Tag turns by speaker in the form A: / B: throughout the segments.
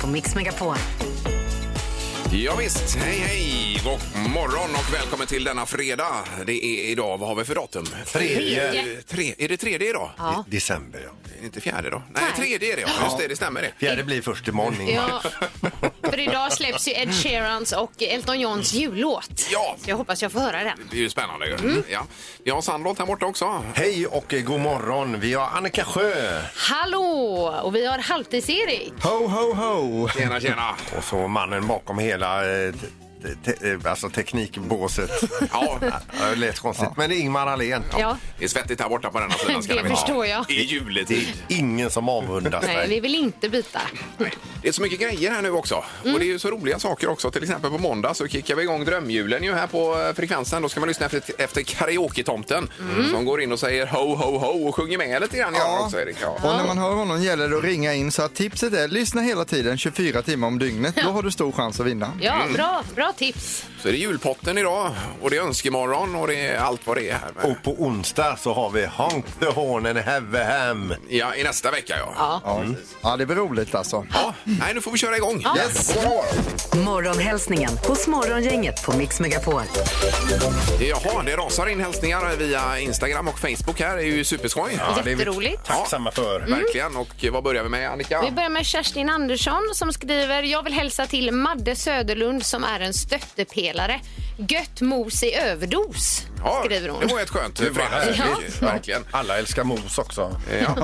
A: på Mix Megapol.
B: Ja, visst. hej hej! God morgon och välkommen till denna fredag. Det är idag, vad har vi för datum?
C: Tredje.
B: Tre, är det tredje idag?
A: Ja.
C: December, ja.
B: Inte fjärde då? Nej,
D: Nej.
B: tredje är det ja. Just det, det stämmer det.
C: Fjärde blir först imorgon. Ingmar.
D: Ja, för idag släpps ju Ed Sheerans och Elton Johns jullåt.
B: Ja.
D: Så jag hoppas jag får höra den.
B: Det är ju spännande ju. Ja. Vi har Sandlott här borta också.
C: Hej och eh, god morgon. Vi har Annika Sjö.
D: Hallå! Och vi har Halvtids-Erik.
E: Ho, ho, ho!
B: Tjena, tjena!
C: Och så mannen bakom hela eh, te- te- eh, alltså teknikbåset.
B: Ja,
C: Ja, Det lät konstigt, men det är Ingmar Ahlén.
D: Ja,
B: det är svettigt här borta på denna sidan. ska
D: Det
B: ni veta.
D: förstår jag.
B: I juletid.
C: Ingen som avundas
D: nej, vi
C: mig.
D: vill inte byta.
B: Nej. Det är så mycket grejer här nu också.
D: Mm.
B: Och det är ju så roliga saker också. Till exempel på måndag så kickar vi igång drömjulen ju här på eh, frekvensen. Då ska man lyssna efter, efter karaoke-tomten
D: Mm.
B: som går in och säger ho, ho, ho och sjunger med lite grann. Ja.
E: Ja.
B: Också, Erik. Ja.
E: Och när man hör honom gäller det att ringa in så att tipset är lyssna hela tiden 24 timmar om dygnet. Då har du stor chans att vinna.
B: Mm.
D: Ja, bra, bra tips.
B: Så är det julpotten idag och det är önskemorgon och det är allt vad det är här. med.
C: Och på onsdag så har vi Honk the Horn and Have a Ham.
B: Ja, i nästa vecka ja.
D: Ja.
E: Ja, det blir roligt alltså.
B: Ja, nej, nu får vi köra igång.
E: Yes. Eh,
A: Morgonhälsningen hos Morgongänget på Mix Megapol.
B: Jaha, det rasar in hälsningar via Instagram och Facebook här. Det är ju superskoj.
C: Ja, det är vi
D: Jätteroligt. Mm.
C: Tacksamma för.
B: Verkligen. Och vad börjar vi med, Annika?
D: Vi börjar med Kerstin Andersson som skriver Jag vill hälsa till Madde Söderlund som är en stöttepelare. Gött mos i överdos, skriver hon.
B: det var ett skönt
C: härligt.
B: fredagsmys.
C: Ja.
B: Verkligen.
C: Alla älskar mos också.
B: Ja.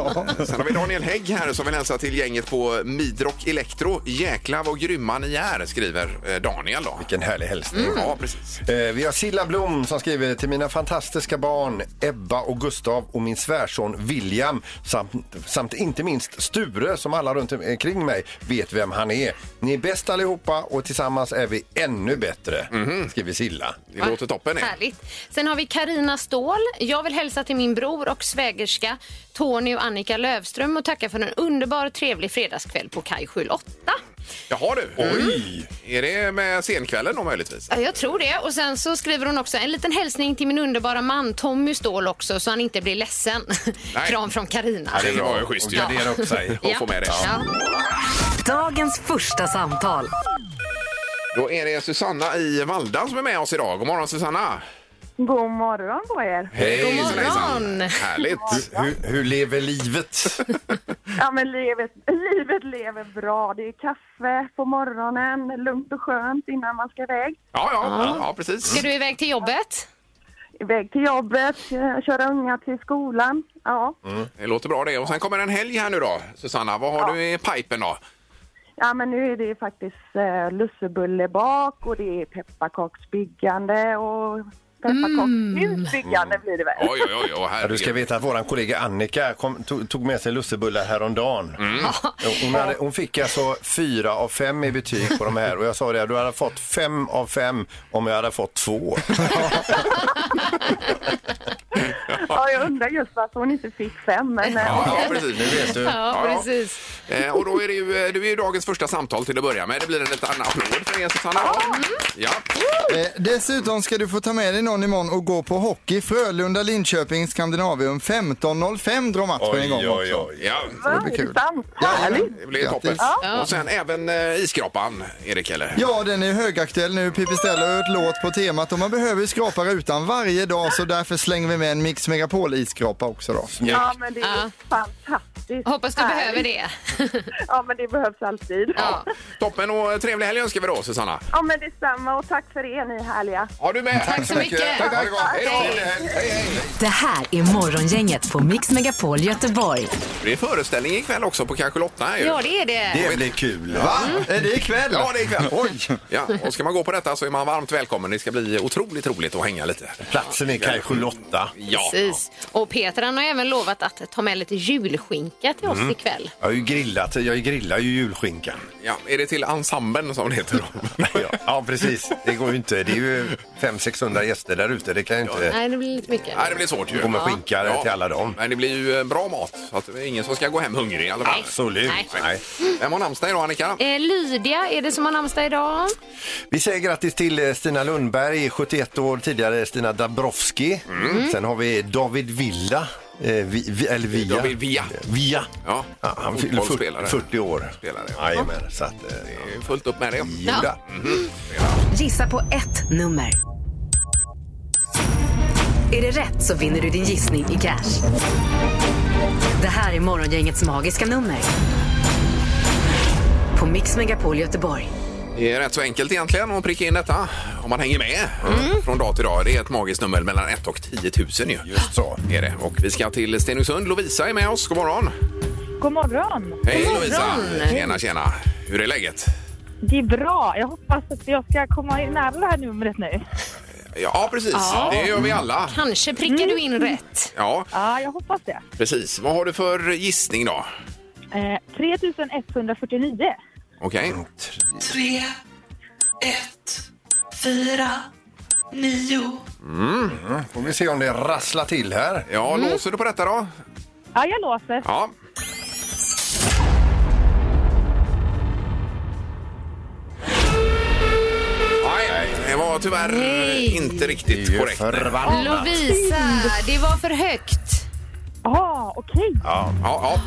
B: Sen har vi Daniel Hägg här som vill hälsa till gänget på Midrock Electro. Jäklar vad grymma ni är, skriver eh, Daniel då.
C: Vilken härlig hälsning.
D: Mm.
B: Ja, precis.
C: Eh, Vi har Silla Blom som skriver till mina fantastiska barn Ebba och Gustav och min svärson William samt, samt inte minst Sture som alla runt omkring mig vet vem han är. Ni är bäst allihopa och tillsammans är vi ännu bättre, skriver Silla.
B: Det låter toppen. eh. det.
D: Härligt. Sen har vi Karina Ståhl. Jag vill hälsa till min bror och svägerska Tony och Annika Lövström och tacka för en underbar och trevlig fredagskväll på Kaj 8.
B: Jaha du. Oj! Är det med senkvällen då möjligtvis?
D: Ja, Jag tror det. Och sen så skriver hon också en liten hälsning till min underbara man Tommy Ståhl också så han inte blir ledsen.
B: Nej.
D: Kram från Karina.
B: Ja, det är bra. ju schysst
C: Och
B: ju.
C: gardera upp sig.
B: Och få med det.
D: Ja.
A: Dagens första samtal.
B: Då är det Susanna i Valdan som är med oss idag. God morgon Susanna!
F: God morgon på er.
B: Hej!
D: God morgon.
B: hejsan. Härligt!
C: Hur, hur lever livet?
F: Ja, men livet, livet lever bra. Det är kaffe på morgonen, lugnt och skönt innan man ska iväg.
B: Ja, ja, ja precis.
D: Ska du iväg till jobbet?
F: Iväg till jobbet, eh, köra unga till skolan. Ja,
B: Det låter bra det. Och sen kommer en helg här nu då. Susanna, vad har du i pipen då?
F: ja men nu är det ju faktiskt eh, lussebullebak och det är pepparkaksbyggande och
D: Mm.
F: pepparkakshusbyggande blir det väl.
B: Oj, oj, oj, oj
C: Ja, du ska
B: herregud.
C: veta att vår kollega Annika kom, tog, tog med sig lussebullar häromdagen. Hon, hade, hon fick alltså fyra av fem i betyg på de här och jag sa det, du hade fått fem av fem om jag hade fått två.
F: Ja, jag undrar just varför hon inte fick fem, men eh,
B: Ja, precis. Nu vet du.
D: Ja, precis.
B: Eh, och då är det ju, eh, du är ju dagens första samtal till att börja med. Det blir en liten applåd för er Susanna. Ja.
E: Eh, dessutom ska du få ta med dig någon imorgon och gå på hockey. Frölunda-Linköping Skandinavium 15.05 drar matchen igång också.
B: ja,
E: Det blir kul.
F: sant? Härligt!
B: det blir toppen.
E: Grattis.
B: Och sen även eh, iskrapan, Erik eller?
E: Ja, den är högaktuell nu. Pipistrella har gjort låt på temat och man behöver ju skrapa rutan varje dag så därför slänger vi med en Mix Megapol-isskrapa också då.
F: Ja, men det är
D: Ja.
F: fantastiskt.
D: Hoppas du
F: Härligt.
D: behöver det.
F: Ja, men det behövs alltid.
D: Ja.
B: Toppen och trevlig helg önskar vi då Susanna.
F: Ja, men detsamma och tack för er, ni härliga.
B: Ja, du med.
D: Tack så mycket.
B: Tack, tack. Hej då.
A: Det här är Morgongänget på Mix Megapol Göteborg.
B: Det är föreställning ikväll också på kanske Lotta här ju.
D: Ja, det Mm. är det.
C: Det blir kul.
E: Va? Är det ikväll?
B: Ja, det är ikväll.
E: Oj!
B: Ja, och ska man gå på detta så är man varmt välkommen. Det ska bli otroligt roligt att hänga lite.
C: Platsen är kanske Lotta.
B: Ja.
D: Precis. Och Peter han har även lovat att ta med lite julskinka till oss
B: Mm.
D: ikväll.
C: Jag har ju grillat, jag grillar ju julskinkan.
B: ja, är det till ensemblen som det heter då?
C: Ja, ja precis. Det går ju inte. Det är ju 500-600 gäster där ute. Det kan ju inte
D: Nej, det blir lite mycket.
B: Nej, det blir svårt ju.
C: gå med skinka till alla dem.
B: Men det blir ju eh, bra mat, så att det är ingen som ska gå hem hungrig i alla fall.
C: Absolut.
D: Nej.
C: Nej.
B: Vem har namnsdag idag, Annika?
D: Eh, Lydia är det som har namnsdag idag.
C: Vi säger grattis till eh, Stina Mm. Lundberg, 71 år tidigare Stina Dabrowski. Sen har vi David Villa Eh, vi, vi, eller via.
B: David Villa.
C: Via.
B: Ja,
C: Ja, han fyller
B: fotbollsspelare.
C: 40, 40 år.
B: Spelare, ja.
C: Jajamän, så att... Eh,
B: Det är fullt upp med det.
C: ja.
A: Gissa på ett nummer. Är det rätt så vinner du din gissning i cash. Det här är Morgongängets magiska nummer. På Mix Megapol Göteborg.
B: Det är rätt så enkelt egentligen att pricka in detta om man hänger med
C: Mm.
B: eh, från dag till dag. Det är ett magiskt nummer mellan 1 och 10 000 ju.
C: Just så.
B: Är det. Och vi ska till Stenungsund. Lovisa är med oss. God morgon.
F: God morgon!
B: Hej
D: God
B: Lovisa.
D: morgon.
B: Tjena, tjena. Hur är läget?
F: Det är bra. Jag hoppas att jag ska komma nära det här numret nu.
B: Ja, precis.
D: Ja. Mm.
B: Det gör vi alla.
D: Kanske prickar du in rätt.
B: Ja,
F: Ja, jag hoppas det.
B: precis. Vad har du för gissning då?
F: Eh, 3149.
B: Okej.
G: tre, ett, fyra, nio.
C: Mm. Får vi se om det rasslar till här.
B: Ja, låser du på detta då?
F: Ja, jag låser.
B: Ja. Nej, det var tyvärr
D: Nej.
B: inte
C: Det är
B: riktigt
C: ju
B: korrekt.
C: förbannat.
D: Lovisa, det var för högt.
F: Ja, okej.
B: Ja, ja.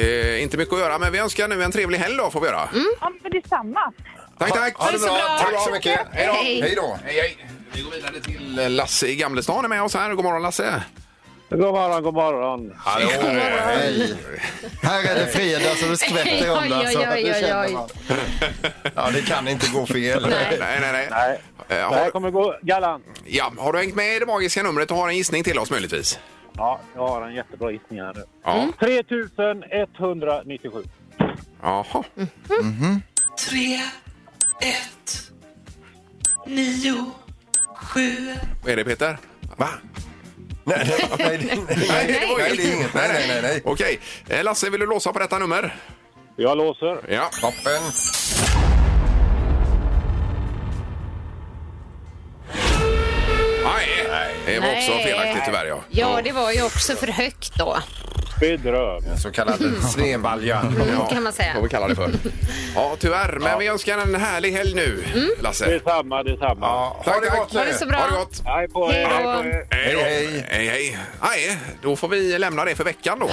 B: Eh, inte mycket att göra, men vi önskar nu en trevlig helg då, får vi göra.
F: Ja, men detsamma.
B: Tack, tack!
C: Ha, ha det
D: så bra.
C: bra. Tack så mycket.
B: Hej då.
D: Hej.
C: Hej då.
B: Hej, hej! Vi går vidare till Lasse i Gamlestan är med oss här. God morgon Lasse!
H: God morgon, god morgon.
B: Hallå!
E: Hej. Här är det fredag så det skvätter om det.
D: Oj,
E: Alltså.
D: oj, oj,
E: Det känner
D: oj.
E: man.
C: Ja, det kan inte gå fel.
B: Nej, nej, nej.
H: Nej,
B: Eh,
H: det här
B: har,
H: kommer gå galant.
B: ja, har du hängt med i det magiska numret och har en gissning till oss möjligtvis?
H: Ja, jag har en jättebra gissning här nu.
B: Ja.
H: 3197.
B: Jaha.
G: Tre, ett, nio, sju.
B: Vad är det Peter?
C: Va? Nej, nej, nej, nej,
B: det var
C: nej,
B: inget.
C: det är inget. Nej, nej, nej, nej.
B: Okej. Eh, Lasse, vill du låsa på detta nummer?
H: Jag låser.
B: Ja.
C: Toppen.
B: Nej, det var också
D: Nej.
B: felaktigt tyvärr ja.
D: Ja, det var ju också för högt då.
H: Bedröv.
C: En så kallad snedbalja.
B: Mm. Ja,
D: kan man säga.
B: Vad vi kallar det för. Ja, tyvärr. Men vi önskar en härlig helg nu, Lasse.
H: Detsamma, detsamma.
C: Ja, ha
B: Tack,
C: det
B: tack.
C: gott
D: Mm. Ha det så
C: nu.
D: bra.
B: Ha det gott.
H: Hej på er,
D: Hej
H: hej
D: då.
H: på er.
B: Hej, då.
C: Hej,
B: hej, hej. Nej, då får vi lämna det för veckan då.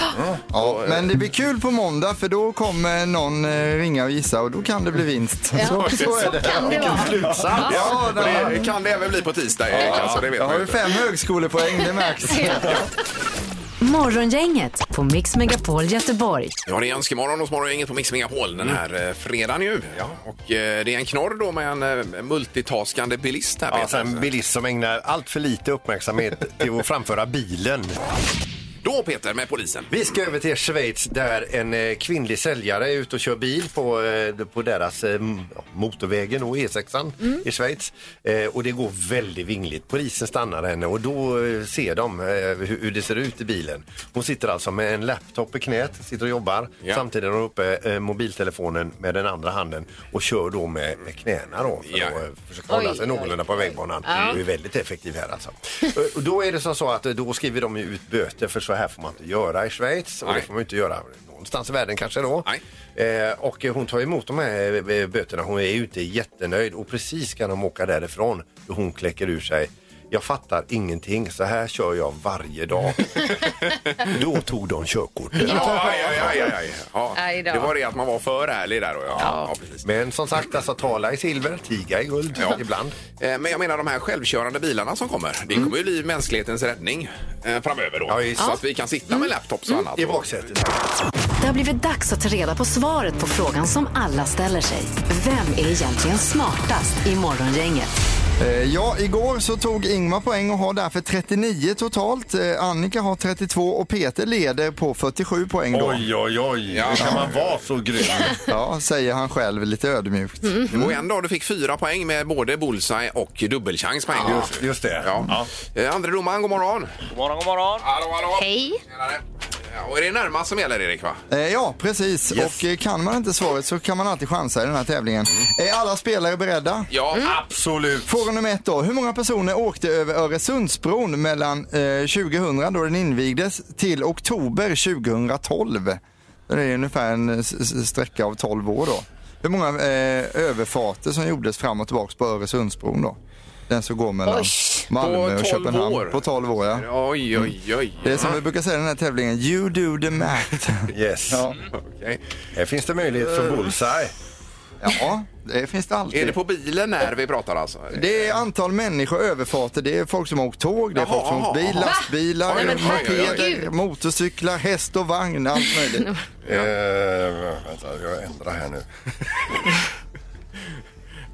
E: Ja, men det blir kul på måndag för då kommer någon eh, ringa och gissa och då kan det bli vinst. Så, så är
D: Så
E: det.
D: kan det vara.
C: Slutsats.
E: Ja,
B: Och det kan det även bli på tisdag, Erik. Alltså, det vet
E: jag
B: man
E: har
B: ju
E: ju
B: inte.
E: fem högskolepoäng, det märks.
A: Morgongänget på Mix Megapol Göteborg.
B: Ja, det är önskemorgon hos Morgongänget på Mix Megapol den här mm. fredagen ju. Och eh, det är en knorr då med en eh, multitaskande bilist här.
C: Ja,
B: Peter.
C: sen en bilist som ägnar allt för lite uppmärksamhet till att framföra bilen.
B: Då Peter med polisen.
C: Vi ska över till Schweiz där en eh, kvinnlig säljare är ute och kör bil på, eh, på deras eh, m- motorvägen och E6
B: Mm.
C: i Schweiz. Eh, Och det går väldigt vingligt. Polisen stannar henne och då eh, ser de eh, hur hur det ser ut i bilen. Hon sitter alltså med en laptop i knät, sitter och jobbar.
B: Ja.
C: Samtidigt har hon uppe eh, mobiltelefonen med den andra handen och kör då med, med knäna då för
B: Ja.
C: att eh, försöka hålla
D: Oj,
C: sig
D: oj,
C: någorlunda på vägbanan. Du är väldigt effektiv här alltså. Och då är det som så att eh, då skriver de ju ut böter för så här får man inte göra i Schweiz och
B: Nej.
C: det får man ju inte göra någonstans i världen kanske då.
B: Nej.
C: Eh, och eh, hon tar emot de här eh, böterna. Hon är ju inte jättenöjd och precis kan de åka därifrån då hon kläcker ur sig jag fattar ingenting, så här kör jag varje dag. då tog de körkortet.
B: Ja, aj, aj, aj, aj, aj. Ja,
D: Aj då.
B: det var det att man var för ärlig där. Och, ja. Ja, precis.
C: Men som sagt, alltså tala i silver, tiga i guld
B: Ja.
C: ibland.
B: Eh, Men jag menar de här självkörande bilarna som kommer. Det
D: Mm.
B: kommer ju bli mänsklighetens räddning eh, framöver då.
C: Ja, visst. Mm.
B: så att vi kan sitta med laptops och annat.
C: I baksätet.
A: Det har blivit dags att ta reda på svaret på frågan som alla ställer sig. Vem är egentligen smartast i Morgongänget?
E: Eh, Ja, igår så tog Ingmar poäng och har därför 39 totalt. Eh, Annika har 32 och Peter leder på 47 poäng då.
C: oj, oj.
B: Ja.
C: Kan man vara så grym?
E: Ja, säger han själv lite ödmjukt.
D: Mm.
B: Det
C: Mm.
B: var en dag du fick fyra poäng med både bullseye och dubbelchans på en gång.
C: Just, just det.
B: Ja. Eh, Andre domaren, god morgon.
I: God morgon, god morgon.
B: Hallå, hallå.
D: Hej.
B: Tjenare. Ja, och är det närmast som gäller, Erik? Va?
E: Eh, Ja, precis.
C: Yes.
E: Och eh, kan man inte svaret så kan man alltid chansa i den här tävlingen. Är alla spelare beredda?
B: Ja. Ah,
C: Absolut.
E: Fråga nummer ett då. Hur många personer åkte över Öresundsbron mellan eh, 2000 då den invigdes till oktober 2012? Det är ungefär en s- s- sträcka av 12 år då. Hur många eh, överfarter som gjordes fram och tillbaka på Öresundsbron då? Den som går mellan
D: Oj.
E: Malmö
B: På 12
E: och Köpenhamn.
B: år.
E: På 12 år, ja.
B: Oj, oj, oj.
E: Det är som vi brukar säga i den här tävlingen, you do the math.
C: Yes. Mm.
E: Ja,
B: Okej. Eh.
C: Här finns det möjlighet för bullseye.
E: ja det finns det alltid.
B: Är det på bilen när vi pratar alltså?
E: Det är antal människor, överfarter, det är folk som har åkt tåg, det är
B: Jaha,
E: folk som har åkt bil,
B: jaha, jaha.
E: lastbilar,
B: Va? Nej, men
E: mopeder,
D: herregud.
E: motorcyklar, häst och vagn, allt möjligt.
C: Eh, vänta, jag ändrar här nu.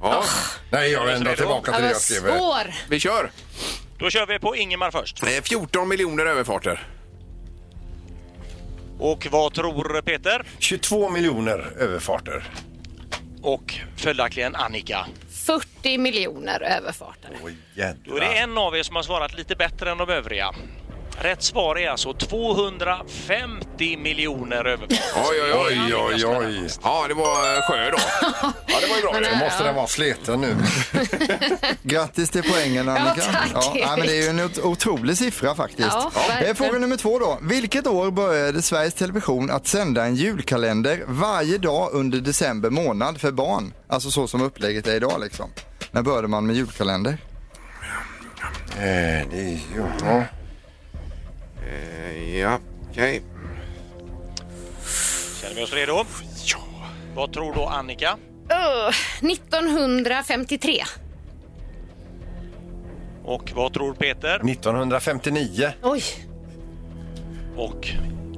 E: Ah.
B: Ja,
C: Nej, jag ändrar tillbaka till det
D: Vad
C: jag skrev. eh,
D: svår!
B: vi kör.
I: Då kör vi på Ingemar först.
B: Eh, 14 miljoner överfarter.
I: Och vad tror Peter?
C: 22 miljoner överfarter.
I: Och följaktligen Annika.
D: 40 miljoner överfarter.
C: Åh,
I: Då är det
C: jädrar.
I: en av er som har svarat lite bättre än de övriga. Rätt svar är alltså 250 miljoner överfarter.
B: Oj, oj, oj.
C: Oj, oj, oj.
B: Ja, det var eh, sjö då. Ja, det var ju bra.
C: Då
B: det.
C: måste den vara sleten nu.
E: Grattis till poängen Annika.
D: tack, Erik.
E: nej, men det är ju en ot- otrolig siffra faktiskt.
D: Ja,
E: Ja.
D: verkligen.
E: Eh, Fråga nummer två då. Vilket år började Sveriges Television att sända en julkalender varje dag under december månad för barn? Alltså så som upplägget är idag liksom. När började man med julkalender?
C: Eh, det är ju... Ja.
B: Eh, Ja, okej.
I: Känner vi oss redo? Ja. Vad tror då Annika?
D: Öh, 1953.
I: Och vad tror Peter?
C: 1959.
D: Oj.
I: Och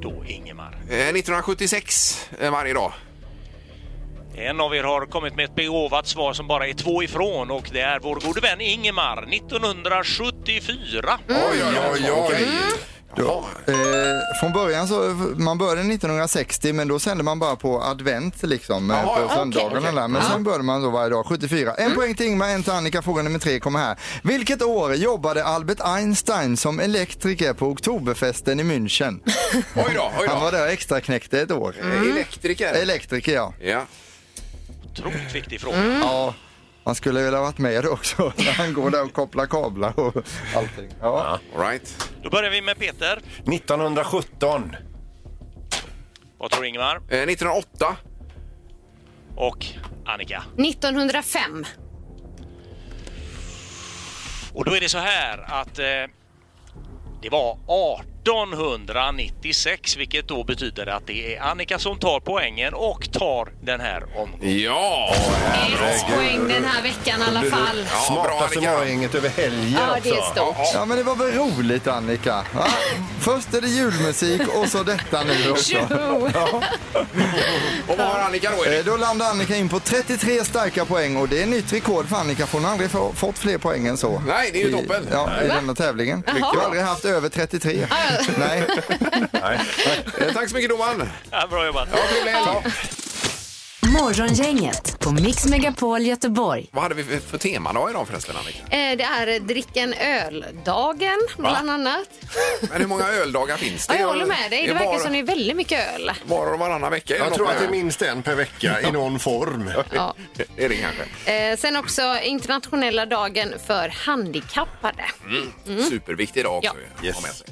I: då Ingemar.
B: Eh, 1976 eh, varje dag.
I: En av er har kommit med ett begåvat svar som bara är två ifrån och det är vår gode vän Ingemar 1974.
C: Oj, oj, oj.
B: Jaha.
E: Eh, från början så, man började 1960 men då sände man bara på advent liksom eh,
B: Jaha,
E: på
B: ja. Mm.
E: söndagarna
B: Okej, okej.
E: där. Men sen började man då varje dag 74. En poäng till Ingmar, en till Annika. Fråga nummer tre kommer här. Vilket år jobbade Albert Einstein som elektriker på Oktoberfesten i München?
B: Oj då, oj
E: Han var
B: då.
E: där och extra knäckte ett år.
B: Eh, Elektriker.
E: Elektriker ja.
B: Ja.
I: Otroligt viktig fråga.
B: Mm.
E: ja. Han skulle väl ha varit med också när han går där och kopplar kablar och allting. Ja.
B: All right.
I: Då börjar vi med Peter.
C: 1917.
I: Vad tror Ingemar?
B: Eh, 1908.
I: Och Annika?
D: 1905.
I: Och då är det så här att eh, det var 1896 vilket då betyder att det är Annika som tar poängen och tar den här omgången.
B: Ja!
D: Ett poäng den här veckan i alla fall.
B: bra,
C: Smartaste
B: Annika.
C: morgongänget över helgen
D: Ja, det är
C: också.
D: stort.
E: ja men det var väl roligt Annika? Va? Först är det julmusik och så detta nu också.
D: Tjo!
B: Och vad har Annika då?
E: Eh,
B: Erik?
E: Då landar Annika in på 33 starka poäng och det är nytt rekord för Annika för hon har aldrig få- fått fler poäng än så.
B: Nej, det är ju toppen.
E: I, ja, i denna tävlingen. Du har aldrig haft över 33. Nej.
B: Eh, Tack så mycket domaren.
I: Ja, bra jobbat!
A: Morgongänget på Mix Megapol Göteborg.
B: Vad hade vi för- för temadag idag förresten Annika?
D: Eh, Det är drick en öl-dagen, bland annat.
B: Men hur många öldagar finns det?
D: Ja, jag håller med dig. Det verkar
B: var,
D: som det är väldigt mycket öl.
B: Var och varannan vecka? är
C: Jag
B: något
C: tror att det
B: med
C: är minst en per vecka i någon form.
D: Ja.
B: Är det kanske?
D: Eh, sen också internationella dagen för handikappade.
B: Superviktig dag också.
D: Mm. Ja.
B: att ha med sig.